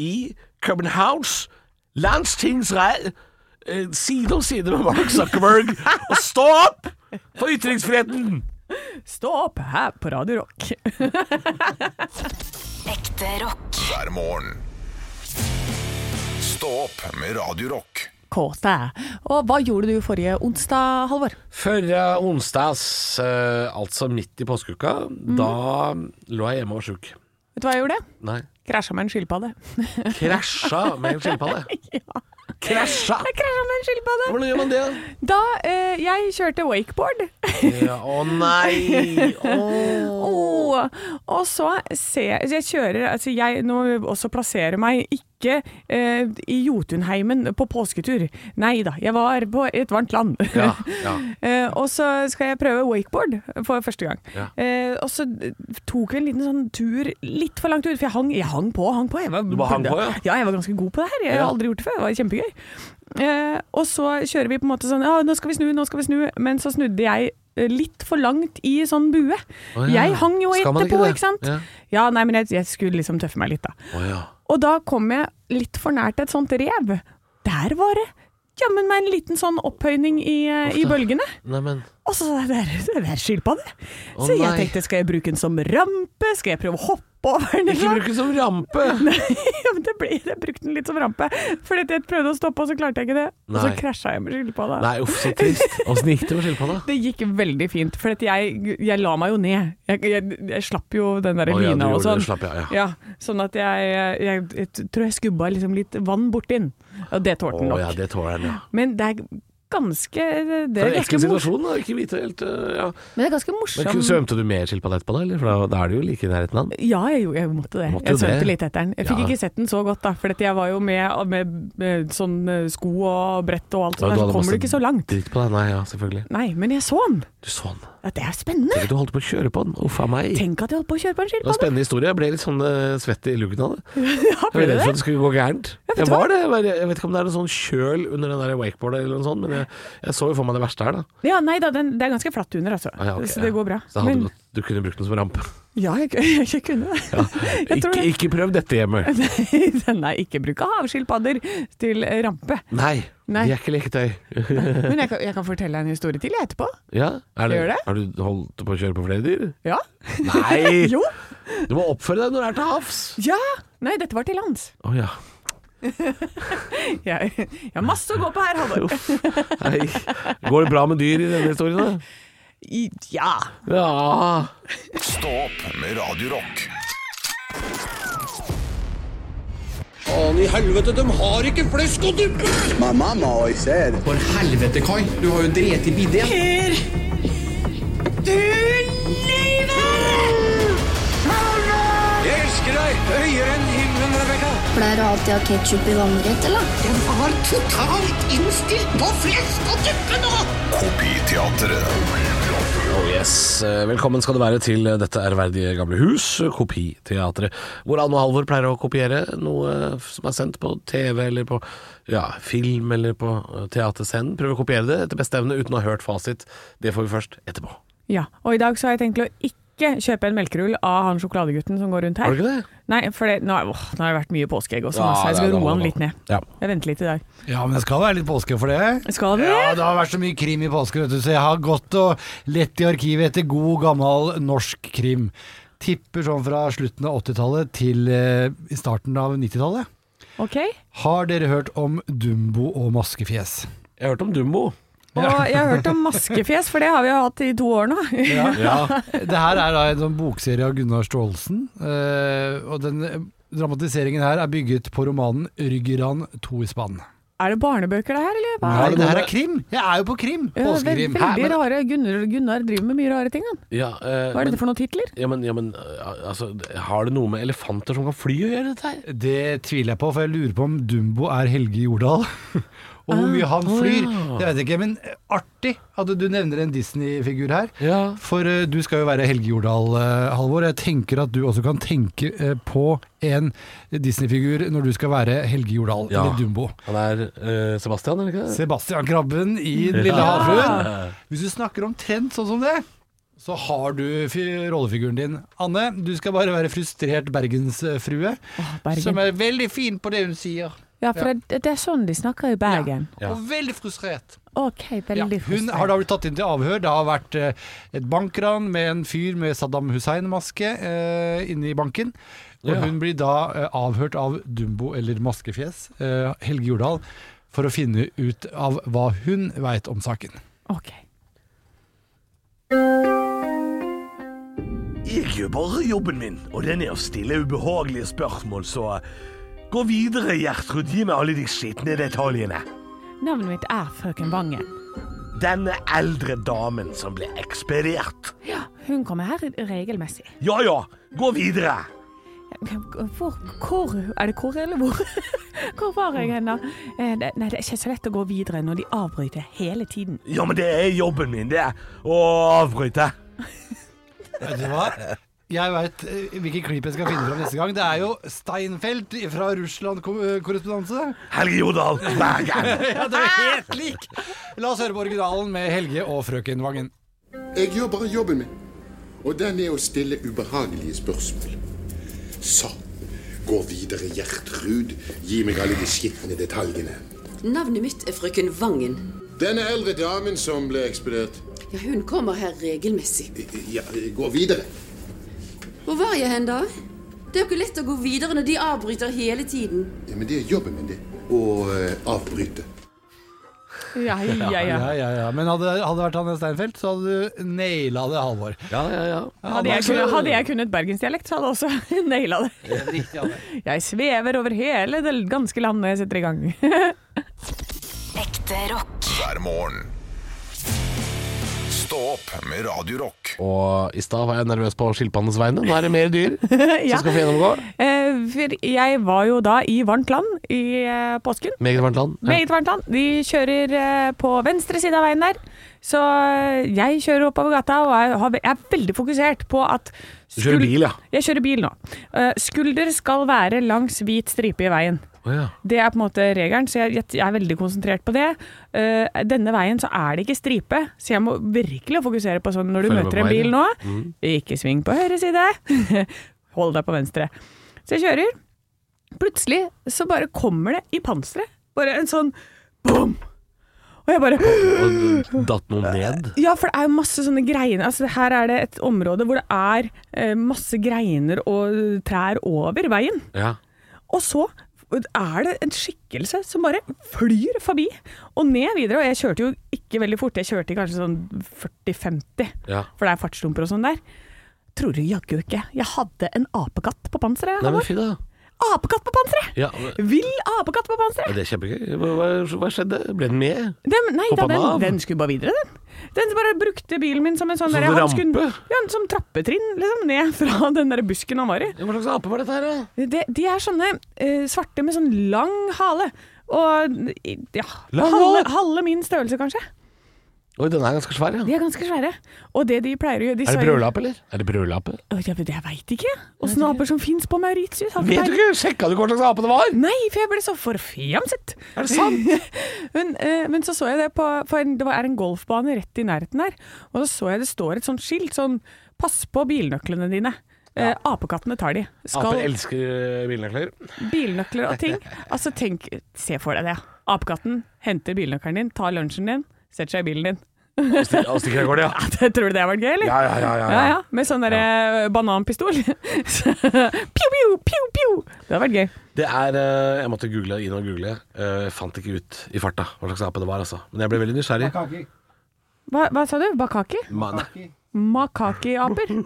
Speaker 4: i Københavns Landstingsrett eh, side om side med Mark Zuckerberg <laughs> og stå opp for ytringsfriheten!
Speaker 5: Stå opp her på Radio Rock. <laughs>
Speaker 1: Ekte rock.
Speaker 2: hver morgen. Stå opp med Radio Rock.
Speaker 5: Kåte. Og hva gjorde du forrige onsdag, Halvor?
Speaker 4: Førre onsdags, eh, altså midt i påskeuka, da lå jeg hjemme og var sjuk.
Speaker 5: Vet du hva jeg gjorde?
Speaker 4: Nei.
Speaker 5: Krasja med en skilpadde.
Speaker 4: Krasja med en <laughs> skilpadde. Krasja!
Speaker 5: Jeg <laughs> krasja med en skilpadde!
Speaker 4: Hvordan gjør man det?
Speaker 5: Da eh, jeg kjørte wakeboard,
Speaker 4: Ja, å nei!
Speaker 5: Åh. <laughs> og så ser jeg Jeg kjører altså jeg, Nå må jeg også plassere meg ikke eh, i Jotunheimen på påsketur. Nei da, jeg var på et varmt land.
Speaker 4: Ja, ja.
Speaker 5: Eh, og så skal jeg prøve wakeboard for første gang.
Speaker 4: Ja.
Speaker 5: Eh, og så tok vi en liten sånn tur, litt for lang tur, for jeg hang, jeg hang på og hang på. Jeg var,
Speaker 4: Du bare hang på, ja?
Speaker 5: jeg var ganske god på det her. Jeg
Speaker 4: Ja.
Speaker 5: har aldri gjort det før. Det var kjempegøy. Eh, og så kjører vi på en måte sånn Ja, nå skal vi snu, nå skal vi snu. Men så snudde jeg eh, litt for langt i sånn bue.
Speaker 4: Å, ja.
Speaker 5: Jeg hang jo
Speaker 4: Skal man
Speaker 5: etterpå,
Speaker 4: ikke det?
Speaker 5: ikke, sant?
Speaker 4: Ja.
Speaker 5: Ja. nei, men jeg, jeg skulle liksom tøffe meg litt, da.
Speaker 4: Å ja.
Speaker 5: Og da kom jeg litt for nært et sånt rev. Der var det jammen meg en liten sånn opphøyning i, eh, i bølgene.
Speaker 4: Neimen
Speaker 5: Og så det der, det der skilpadde.
Speaker 4: Å,
Speaker 5: så jeg
Speaker 4: nei.
Speaker 5: tenkte, skal jeg bruke den som rampe? Skal jeg prøve å hoppe over den?
Speaker 4: Ikke
Speaker 5: <laughs> eller noe?
Speaker 4: bruk det som rampe!
Speaker 5: ja, men det ble, jeg brukte den litt som rampe. Fordi at jeg prøvde å stoppe, og så klarte jeg ikke det. Og så
Speaker 4: Nei.
Speaker 5: krasja jeg med skilpadda.
Speaker 4: Nei, uff, så trist. Åssen gikk det med skilpadda?
Speaker 5: Det gikk veldig fint, for at jeg, jeg la meg jo ned. Jeg, jeg, jeg slapp jo den
Speaker 4: Å,
Speaker 5: der
Speaker 4: ja, du
Speaker 5: lina og
Speaker 4: gjorde
Speaker 5: sånn.
Speaker 4: det, slapp, ja, ja.
Speaker 5: sånn at jeg, jeg, jeg, tror jeg skubba liksom litt vann borti den. Og det
Speaker 4: Å
Speaker 5: tålte den nok.
Speaker 4: ja, det tåler den, ja.
Speaker 5: Men det er ganske Det
Speaker 4: Det
Speaker 5: er
Speaker 4: er en
Speaker 5: ganske
Speaker 4: ekkel
Speaker 5: morsomt.
Speaker 4: situasjon, da. Ikke vite helt eh, ja.
Speaker 5: Men det er ganske
Speaker 4: Men
Speaker 5: morsom
Speaker 4: kunne- Svømte du med skilpadda etterpå, da? Eller? For da, da er du jo like i nærheten av den.
Speaker 5: Ja, jeg, gjorde- jeg måtte det.
Speaker 4: Måtte
Speaker 5: jeg svømte
Speaker 4: det.
Speaker 5: litt etter den. Jeg fikk
Speaker 4: Ja.
Speaker 5: ikke sett den så godt, da, for at jeg var jo med, med, med sånn eh, sko og brett og
Speaker 4: Ja,
Speaker 5: alt sånt. der,
Speaker 4: hadde
Speaker 5: så kommer
Speaker 4: masse
Speaker 5: du ikke så langt.
Speaker 4: Dritt på deg, nei, ja, selvfølgelig.
Speaker 5: Nei, men jeg så den.
Speaker 4: Du så den.
Speaker 5: Ja, det er spennende.
Speaker 4: Tenk at du holdt på å kjøre på den. Uff a meg. Det
Speaker 5: Tenk at jeg holdt på å kjøre på
Speaker 4: var
Speaker 5: en
Speaker 4: en
Speaker 5: skilpadde.
Speaker 4: spennende historie. Jeg ble litt sånn eh, svett i luggen av det.
Speaker 5: Ja,
Speaker 4: Jeg
Speaker 5: ble
Speaker 4: var
Speaker 5: det
Speaker 4: redd for at
Speaker 5: det?
Speaker 4: det sånn- skulle gå gærent.
Speaker 5: vet
Speaker 4: Jeg
Speaker 5: du hva?
Speaker 4: var det. Jeg, var, jeg vet ikke om det er en sånn kjøl under den der wakeboardet eller noe sånt, men jeg, jeg så jo for meg det verste her, da.
Speaker 5: Ja, nei da, den, det er ganske flatt under, altså.
Speaker 4: Ah, ja, ok,
Speaker 5: så det
Speaker 4: ja.
Speaker 5: går bra.
Speaker 4: Så da hadde
Speaker 5: Men-
Speaker 4: du, gått- du kunne brukt den som rampe.
Speaker 5: <laughs> ja, jeg, jeg, kunne det. <laughs> Jeg
Speaker 4: Ikke,
Speaker 5: tror <laughs> det.
Speaker 4: ikke prøv dette hjemme.
Speaker 5: Nei, ikke bruk havskilpadder til eh, rampe.
Speaker 4: Nei,
Speaker 5: Nei.
Speaker 4: de er ikke leketøy. <laughs>
Speaker 5: Men jeg kan, jeg kan fortelle deg en historie til jeg etterpå.
Speaker 4: Ja, er
Speaker 5: Gjør det?
Speaker 4: Har du holdt på å kjøre på flere dyr?
Speaker 5: Ja.
Speaker 4: Nei!
Speaker 5: <laughs> Jo.
Speaker 4: Du må oppføre deg når du er til havs.
Speaker 5: <laughs> Ja! Nei, dette var til lands.
Speaker 4: Å ja.
Speaker 5: Jeg, jeg har masse å gå på her, Halvor.
Speaker 4: Uff. Nei. Går det bra med dyr i denne
Speaker 5: <laughs>
Speaker 4: historien, da?
Speaker 5: I- Ja.
Speaker 4: Ja.
Speaker 2: Stå opp med Radio Rock.
Speaker 10: Pleier du alltid å ha ketsjup i vannrett, eller?
Speaker 2: Kopiteatret.
Speaker 4: Oh yes. Eh, Velkommen skal du være til eh, dette ærverdige gamle hus, eh, Kopiteatret. Hvor Anne og Halvor pleier å kopiere noe eh, som er sendt på TV eller på ja, film eller på eh, teaterscenen. Prøve å kopiere det etter beste evne uten å ha hørt fasit. Det får vi først etterpå.
Speaker 5: ja. Og i dag så har jeg tenkt å ikke kjøpe en melkerull av han sjokoladegutten som går rundt her.
Speaker 4: Har du ikke det?
Speaker 5: Nei, for det, nå, åh, nå har det vært mye påskeegg også,
Speaker 4: Ja,
Speaker 5: så jeg skal
Speaker 4: det- det
Speaker 5: roe
Speaker 4: må
Speaker 5: han
Speaker 4: man.
Speaker 5: litt ned.
Speaker 4: Ja.
Speaker 5: Jeg venter litt i dag.
Speaker 9: Ja, men det skal være litt påske for det.
Speaker 5: Skal vi?
Speaker 9: Ja, det har vært så mye krim i påske, vet du, så jeg har gått og lett i arkivet etter god, gammel norsk krim. Tipper sånn fra slutten av 80-tallet til eh, starten av 90-tallet.
Speaker 5: Ok.
Speaker 9: Har dere hørt om Dumbo og Maskefjes?
Speaker 4: Jeg har hørt om Dumbo.
Speaker 5: Og jeg har hørt om maskefjes, for det har vi jo hatt i to år nå.
Speaker 9: Ja. det her er da en sånn bokserie av Gunnar Staalesen. eh, og den eh, dramatiseringen her er bygget på romanen 'Ryggeran to i spann'.
Speaker 5: <laughs> Er det barnebøker det her, eller? Hva?
Speaker 9: Nei,
Speaker 4: det
Speaker 9: det her
Speaker 4: noe
Speaker 9: er krim! Jeg er jo på krim!
Speaker 5: Ja, ve-
Speaker 9: Påskekrim. Hæ,
Speaker 5: veldig
Speaker 9: men-
Speaker 5: rare. Gunnar, Gunnar driver med mye rare ting. Han.
Speaker 4: Ja, eh,
Speaker 5: Hva er
Speaker 4: men-
Speaker 5: dette for noen titler?
Speaker 4: Ja, men, ja, men eh, altså, har det noe med elefanter som kan fly å gjøre, dette her?
Speaker 9: Det tviler jeg på, for jeg lurer på om Dumbo er Helge Jordal. <laughs> Og hvor mye han
Speaker 4: Ah, å
Speaker 9: flyr.
Speaker 4: ja.
Speaker 9: Det vet jeg ikke, men artig at du nevner en Disney-figur her.
Speaker 4: Ja.
Speaker 9: For eh, du skal jo være Helge Jordal, eh, Halvor. Jeg tenker at du også kan tenke eh, på en Disney-figur når du skal være Helge Jordal
Speaker 4: Ja.
Speaker 9: eller Dumbo.
Speaker 4: Han er eh, Sebastian, er det ikke det?
Speaker 9: Sebastian Krabben i Den lille havfruen. Hvis du snakker omtrent sånn som det, så har du fi- rollefiguren din. Anne, du skal bare være frustrert bergensfrue,
Speaker 5: Bergen.
Speaker 9: som er veldig fin på det hun sier.
Speaker 5: Ja, for Det, det er sånn de snakker i Bergen.
Speaker 4: Ja.
Speaker 9: Og veldig frustrert.
Speaker 5: OK,
Speaker 9: Ja.
Speaker 5: veldig
Speaker 9: Hun har da blitt tatt inn til avhør. Det har vært eh, et bankran med en fyr med Saddam Hussein-maske eh, inne i banken. Og
Speaker 4: Ja.
Speaker 9: hun blir da eh, avhørt av Dumbo eller Maskefjes, eh, Helge Jordal, for å finne ut av hva hun veit om saken.
Speaker 5: Ok.
Speaker 11: Jeg gjør bare jobben min, og den er å stille ubehagelige spørsmål, så eh, gå videre, Gjertrud. Gi meg alle de skitne detaljene.
Speaker 5: Navnet mitt er frøken Vangen.
Speaker 11: Denne eldre damen som ble ekspedert.
Speaker 5: Ja, hun kommer her regelmessig.
Speaker 11: Ja ja, gå videre.
Speaker 5: Hvor, hvor Er det hvor eller hvor? Hvor var jeg hen, da? Eh, det- Nei, det er ikke så lett å gå videre når de avbryter hele tiden.
Speaker 11: Ja, men det er jobben min, det. Å avbryte.
Speaker 9: Vet du hva? Jeg veit hvilken klipp jeg skal finne fram neste gang. Det er jo Steinfeld fra Russland-korrespondanse.
Speaker 11: Helge Jordal, Bergen.
Speaker 9: ja, det er helt lik! La oss høre på originalen med Helge og frøken Vangen.
Speaker 12: Jeg gjør bare jobben min. Og den er å stille ubehagelige spørsmål. Så, gå videre, Gjertrud. Gi meg alle de skitne detaljene.
Speaker 13: Navnet mitt er frøken Vangen.
Speaker 12: Denne eldre damen som ble ekspedert.
Speaker 13: Ja, hun kommer her regelmessig.
Speaker 12: Ja, gå videre.
Speaker 13: Hvor var jeg hen da? Det er jo ikke lett å gå videre når de avbryter hele tiden.
Speaker 12: Ja, men det er jobben min, det. Å eh, avbryte.
Speaker 5: Ja,
Speaker 9: ja, ja, ja, ja. Men hadde, hadde det vært han Steinfeld, så hadde du naila det, Halvor.
Speaker 4: Ja, ja, ja.
Speaker 5: Hadde jeg kunnet, hadde jeg kunnet bergensdialekt, så hadde jeg også <laughs> naila det. Jeg svever over hele det ganske land når jeg setter i gang.
Speaker 1: Ekte rock.
Speaker 2: hver morgen. Stå opp med Radio Rock.
Speaker 4: Og i stad var jeg nervøs på skilpaddenes vegne. Nå er det mer <laughs> dyr
Speaker 5: <laughs> Ja.
Speaker 4: som skal få gjennomgå.
Speaker 5: Eh, for jeg var jo da i varmt land i eh, påsken.
Speaker 4: Meget varmt land. Ja.
Speaker 5: Meget varmt land. De kjører eh, på venstre side av veien der. Så eh, jeg kjører oppover gata og jeg har- jeg er veldig fokusert på at
Speaker 4: Du kjører bil, ja.
Speaker 5: Jeg kjører bil nå. Eh, Skulder skal være langs hvit stripe i veien.
Speaker 4: Å, ja.
Speaker 5: Det er på en måte regelen, så jeg, jeg, jeg er veldig konsentrert på det. Eh, denne veien så er det ikke stripe, så jeg må virkelig fokusere på sånn når du
Speaker 14: Følg med
Speaker 5: møter
Speaker 14: på
Speaker 5: en bil
Speaker 14: veien,
Speaker 5: nå.
Speaker 14: ja. Mm.
Speaker 5: Ikke sving på høyre side, <laughs> hold deg på venstre. Så jeg kjører. Plutselig så bare kommer det i panseret. Bare en sånn boom! Og jeg bare
Speaker 4: Og datt noen ned?
Speaker 5: ja, for det er jo masse sånne greiner. Altså, her er det et område hvor det er eh, masse greiner og trær over veien.
Speaker 4: Ja.
Speaker 5: Og så er det en skikkelse som bare flyr forbi og ned videre. Og jeg kjørte jo ikke veldig fort, jeg kjørte i kanskje sånn 40-50,
Speaker 4: Ja.
Speaker 5: for det er fartsdumper og sånn der. Tror du jaggu ikke jeg hadde en apekatt på panseret?
Speaker 4: Nei, men
Speaker 5: Halvor.
Speaker 4: fy da.
Speaker 5: Apekatt på panseret!
Speaker 4: Ja, men-
Speaker 5: Vill apekatt på panseret!
Speaker 4: Ja, det er kjempegøy. Hva, hva, hva skjedde? Ble den med?
Speaker 5: Den, nei, da,
Speaker 4: Hoppa den
Speaker 5: den,
Speaker 4: av?
Speaker 5: den skulle bare videre, den. Den bare brukte bilen min som en sånn
Speaker 4: Som
Speaker 5: derre- han skulle-
Speaker 4: rampe?
Speaker 5: Ja, som trappetrinn, liksom, ned fra den der busken han var i.
Speaker 4: Hva slags ape var dette her,
Speaker 5: da? De, de er sånne eh, svarte med sånn lang hale. Og i- ja
Speaker 4: Lang hale?
Speaker 5: halve, halve min størrelse, kanskje.
Speaker 4: Oi, den er ganske svær, ja.
Speaker 5: De er ganske svære. Og det de pleier å gjøre de
Speaker 4: Er det
Speaker 5: sverger-
Speaker 4: brødlape, eller? Er det brødlape?
Speaker 5: Å, Jeg, jeg veit ikke. Åssen aper som fins på Mauritius. har
Speaker 4: Vet du
Speaker 5: peiling.
Speaker 4: ikke? Sjekka du hva slags ape det var?
Speaker 5: Nei, for jeg ble så forfjamset.
Speaker 4: Er det sant?
Speaker 5: <laughs> men, eh, men så så jeg det på For en- det var- er en golfbane rett i nærheten her. Og så så jeg det står et sånt skilt sånn Pass på bilnøklene dine. Eh, apekattene tar de.
Speaker 4: Aper elsker eh, bilnøkler.
Speaker 5: bilnøkler og ting. Altså tenk Se for deg det. Apekatten henter bilnøkkelen din, tar lunsjen din, setter seg i bilen din. <laughs>
Speaker 4: Og sti- og stikker av gårde, <laughs> ja.
Speaker 5: Tror du det har vært gøy, eller?
Speaker 4: Ja, ja, ja, ja, ja.
Speaker 5: Med sånn derre bananpistol. <laughs> Så, Pju, pju, pju, pju. Det har vært gøy.
Speaker 4: Det er eh, Jeg måtte google inn og google. Eh, Jeg fant ikke ut i farta hva slags ape det var, altså. Men jeg ble veldig nysgjerrig.
Speaker 5: Hva, hva sa du? Bakaki?
Speaker 4: Ma- nei.
Speaker 5: Makaki-aper? <laughs>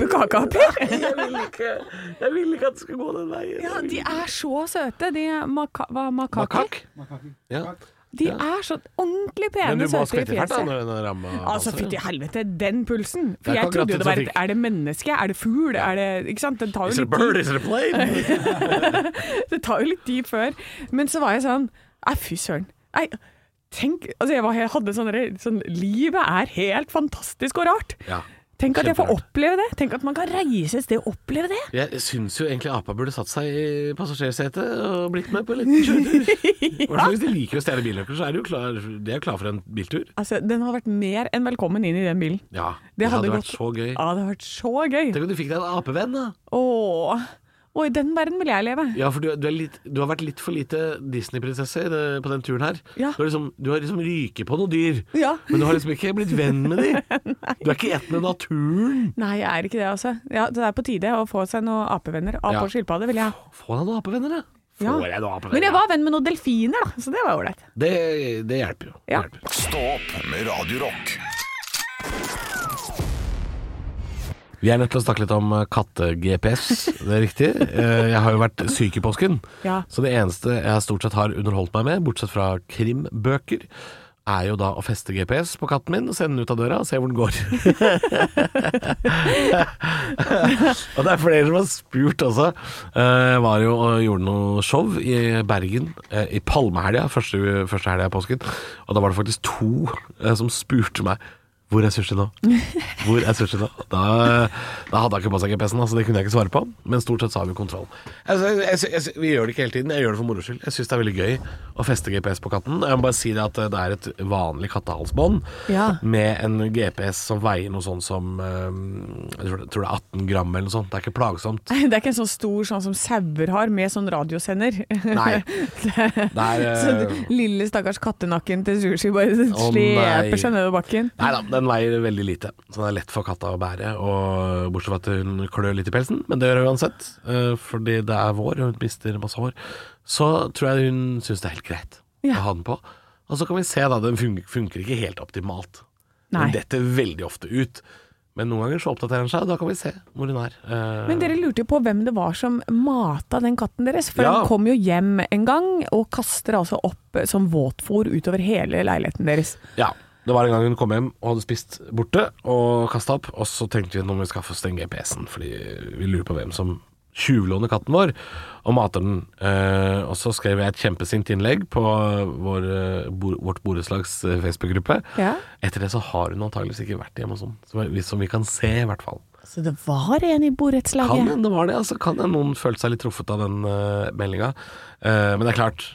Speaker 5: Bukake-aper?
Speaker 4: Jeg ville ikke at det skulle gå den veien.
Speaker 5: Ja, de er så søte, de maka hva, makaki.
Speaker 4: Makak? Ja.
Speaker 5: De er så ordentlig
Speaker 4: Men du
Speaker 5: pene
Speaker 4: må
Speaker 5: søte i
Speaker 4: skvette i farta
Speaker 5: fjeset.
Speaker 4: når den rammer
Speaker 5: Altså, fytti helvete, den pulsen!
Speaker 4: Det
Speaker 5: For
Speaker 4: er
Speaker 5: jeg
Speaker 4: ikke
Speaker 5: trodde jo
Speaker 4: akkurat
Speaker 5: det var
Speaker 4: en
Speaker 5: et Er det menneske? Er det fugl? Er det Ikke sant? Den tar
Speaker 4: Is
Speaker 5: jo
Speaker 4: it a
Speaker 5: litt
Speaker 4: bird?
Speaker 5: tid.
Speaker 4: Is it a plane?
Speaker 5: <laughs> det tar jo litt tid før. Men så var jeg sånn Nei, fy søren. Nei, tenk Altså, jeg, var, jeg hadde sånn derre- sånn Livet er helt fantastisk og rart.
Speaker 4: Ja.
Speaker 5: Tenk at jeg får
Speaker 4: Kjemperart.
Speaker 5: oppleve det. Tenk at man kan reise et sted og oppleve det.
Speaker 4: Jeg syns jo egentlig apa burde satt seg i passasjersetet og blitt med på en liten
Speaker 5: <laughs>
Speaker 4: kjøretur. I hvert fall sånn, Hvis de liker å stjele bilnøkler, så er de jo klar, de er jo klar for en biltur.
Speaker 5: Altså, Den har vært mer enn velkommen inn i den bilen.
Speaker 4: Ja,
Speaker 5: Det
Speaker 4: det
Speaker 5: hadde
Speaker 4: hadde
Speaker 5: gått-
Speaker 4: vært så gøy.
Speaker 5: Ja, det hadde vært så gøy.
Speaker 4: Tenk om du fikk deg en apevenn, da.
Speaker 5: Åh. Og i den verden vil jeg leve.
Speaker 4: Ja, for du, du, er litt, du har vært litt for lite Disney-prinsesse i det- på den turen her.
Speaker 5: Ja.
Speaker 4: Du, har liksom, du har liksom ryket på noen dyr,
Speaker 5: Ja.
Speaker 4: men du har liksom ikke blitt venn med
Speaker 5: <laughs>
Speaker 4: de. Du er ikke ett med naturen.
Speaker 5: Nei, jeg er ikke det, altså. Ja, det er på tide å få seg noen apevenner. Ape
Speaker 4: Ja.
Speaker 5: og skilpadde vil jeg ha.
Speaker 4: Få deg noen apevenner, da.
Speaker 5: Ja.
Speaker 4: Får jeg noen apevenner?
Speaker 5: Men jeg var venn med noen delfiner, da, så det var ålreit. <laughs>
Speaker 4: Det, det hjelper jo. Det hjelper.
Speaker 2: Stå opp med Radio Rock.
Speaker 4: Vi er nødt til å snakke litt om eh, katte-GPS, det er riktig. Eh, Jeg har jo vært syk i påsken,
Speaker 5: Ja.
Speaker 4: så det eneste jeg stort sett har underholdt meg med, bortsett fra krimbøker, er jo da å feste GPS på katten min og sende den ut av døra og se hvor den går. og det er flere som har spurt også. Eh, Jeg var jo og gjorde noe show i Bergen eh, i palmehelga, første, første helga i påsken, og da var det faktisk to eh, som spurte meg hvor er sushi nå? Hvor er sushi nå? Da, da hadde han ikke på seg GPS-en, altså det kunne jeg ikke svare på. Men stort sett så har vi kontroll. Jeg, sy- jeg, sy- jeg, sy- vi gjør det ikke hele tiden, jeg gjør det for moro skyld. Jeg syns det er veldig gøy å feste GPS på katten. Jeg må bare si det at eh, det er et vanlig kattehalsbånd
Speaker 5: Ja.
Speaker 4: med en GPS som veier noe sånn som eh, Jeg tror det, tror det er 18 gram eller noe sånt. Det er ikke plagsomt.
Speaker 5: Det er ikke en sånn stor sånn som sauer har, med sånn radiosender. <laughs>
Speaker 4: Nei. Det er, eh,
Speaker 5: så den lille stakkars kattenakken til sushi bare
Speaker 4: Å, nei.
Speaker 5: <laughs> sleper seg nedover bakken.
Speaker 4: Nei da, den veier veldig lite, så den er lett for katta å bære. Og Bortsett fra at hun klør litt i pelsen, men det gjør hun uansett. eh, Fordi det er vår, og hun mister masse hår. Så tror jeg hun syns det er helt greit
Speaker 5: Ja.
Speaker 4: å ha den på. Og så kan vi se, da. Den fun- funker ikke helt optimalt.
Speaker 5: Nei.
Speaker 4: Den detter veldig ofte ut. Men noen ganger så oppdaterer den seg, og da kan vi se hvor hun er. Eh,
Speaker 5: Men dere lurte jo på hvem det var som mata den katten deres, for
Speaker 4: Ja.
Speaker 5: han kom jo hjem en gang og kaster altså opp eh, som våtfôr utover hele leiligheten deres.
Speaker 4: Ja. Det var en gang hun kom hjem og hadde spist borte og kasta opp. Og så tenkte vi nå må vi skaffe oss den GPS-en, fordi vi lurer på hvem som tjuvlåner katten vår og mater den. Eh, og så skrev jeg et kjempesint innlegg på vår, eh, bo, vårt borettslags eh, Facebook-gruppe.
Speaker 5: Ja.
Speaker 4: Etter det så har hun antageligvis ikke vært hjemme hos noen, som, vi- som vi kan se, i hvert fall.
Speaker 5: Så det var en i
Speaker 4: Kan
Speaker 5: borettslaget.
Speaker 4: hende det var det. Altså, kan hende noen følte seg litt truffet av den uh, meldinga. Eh, men det er klart,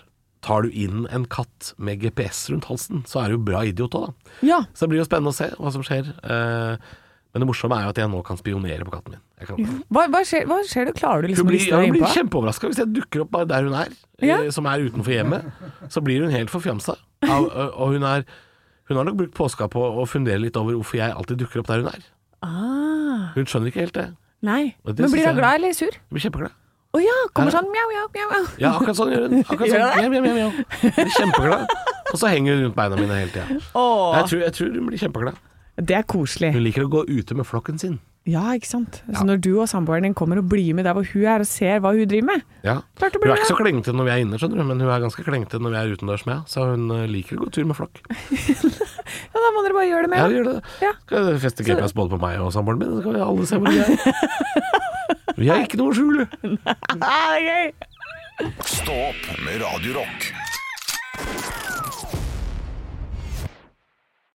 Speaker 4: tar du inn en katt med GPS rundt halsen, så er du jo bra idiot òg, da.
Speaker 5: Ja.
Speaker 4: Så det blir jo spennende å se hva som skjer. Eh, men det morsomme er jo at jeg nå kan spionere på katten min. Jeg kan,
Speaker 5: Hva, hva, skjer, hva skjer? Du klarer du
Speaker 4: hun
Speaker 5: liksom å
Speaker 4: blir,
Speaker 5: liste
Speaker 4: ja,
Speaker 5: deg
Speaker 4: hun blir
Speaker 5: innpå?
Speaker 4: kjempeoverraska hvis jeg dukker opp bare der hun er, eh,
Speaker 5: Ja.
Speaker 4: som er utenfor hjemmet. Så blir hun helt forfjamsa. Og, og hun, er, hun har nok brukt påska på å fundere litt over hvorfor jeg alltid dukker opp der hun er.
Speaker 5: Ah,
Speaker 4: Hun skjønner ikke helt det.
Speaker 5: nei.
Speaker 4: Og det
Speaker 5: Men
Speaker 4: synes
Speaker 5: blir
Speaker 4: jeg-
Speaker 5: hun glad eller sur?
Speaker 4: Hun blir kjempeglad.
Speaker 5: Å ja, kommer
Speaker 4: Ja.
Speaker 5: sånn mjau, mjau, mjau. mjau.
Speaker 4: Ja, akkurat sånn gjør hun. Akkurat
Speaker 5: Gjør
Speaker 4: sånn.
Speaker 5: hun
Speaker 4: Mjau,
Speaker 5: det?
Speaker 4: mjau, mjau, mjau. Hun Blir kjempeglad. Og så henger hun rundt beina mine hele tida.
Speaker 5: Åh.
Speaker 4: Jeg, tror- jeg tror hun blir kjempeglad.
Speaker 5: Det er koselig.
Speaker 4: Hun liker å gå ute med flokken sin.
Speaker 5: Ja, ikke sant. Så når du og samboeren din kommer og blir med der hvor hun er, og ser hva hun driver med
Speaker 4: Ja.
Speaker 5: Klart det
Speaker 4: Hun
Speaker 5: blir
Speaker 4: er ikke så
Speaker 5: bra.
Speaker 4: klengete når vi er inne, skjønner du, men hun er ganske klengete når vi er utendørs med henne. Så hun eh, liker å gå tur med flokk.
Speaker 5: Ja, da må dere bare gjøre det med.
Speaker 4: Ja,
Speaker 5: da.
Speaker 4: vi gjør det. Skal jeg feste GPS både på meg og samboeren min, så skal vi alle se hvor de er.
Speaker 5: <laughs>
Speaker 4: Vi har ikke noe å skjule.
Speaker 5: Ah, det er gøy.
Speaker 2: Stå opp med Radio Rock.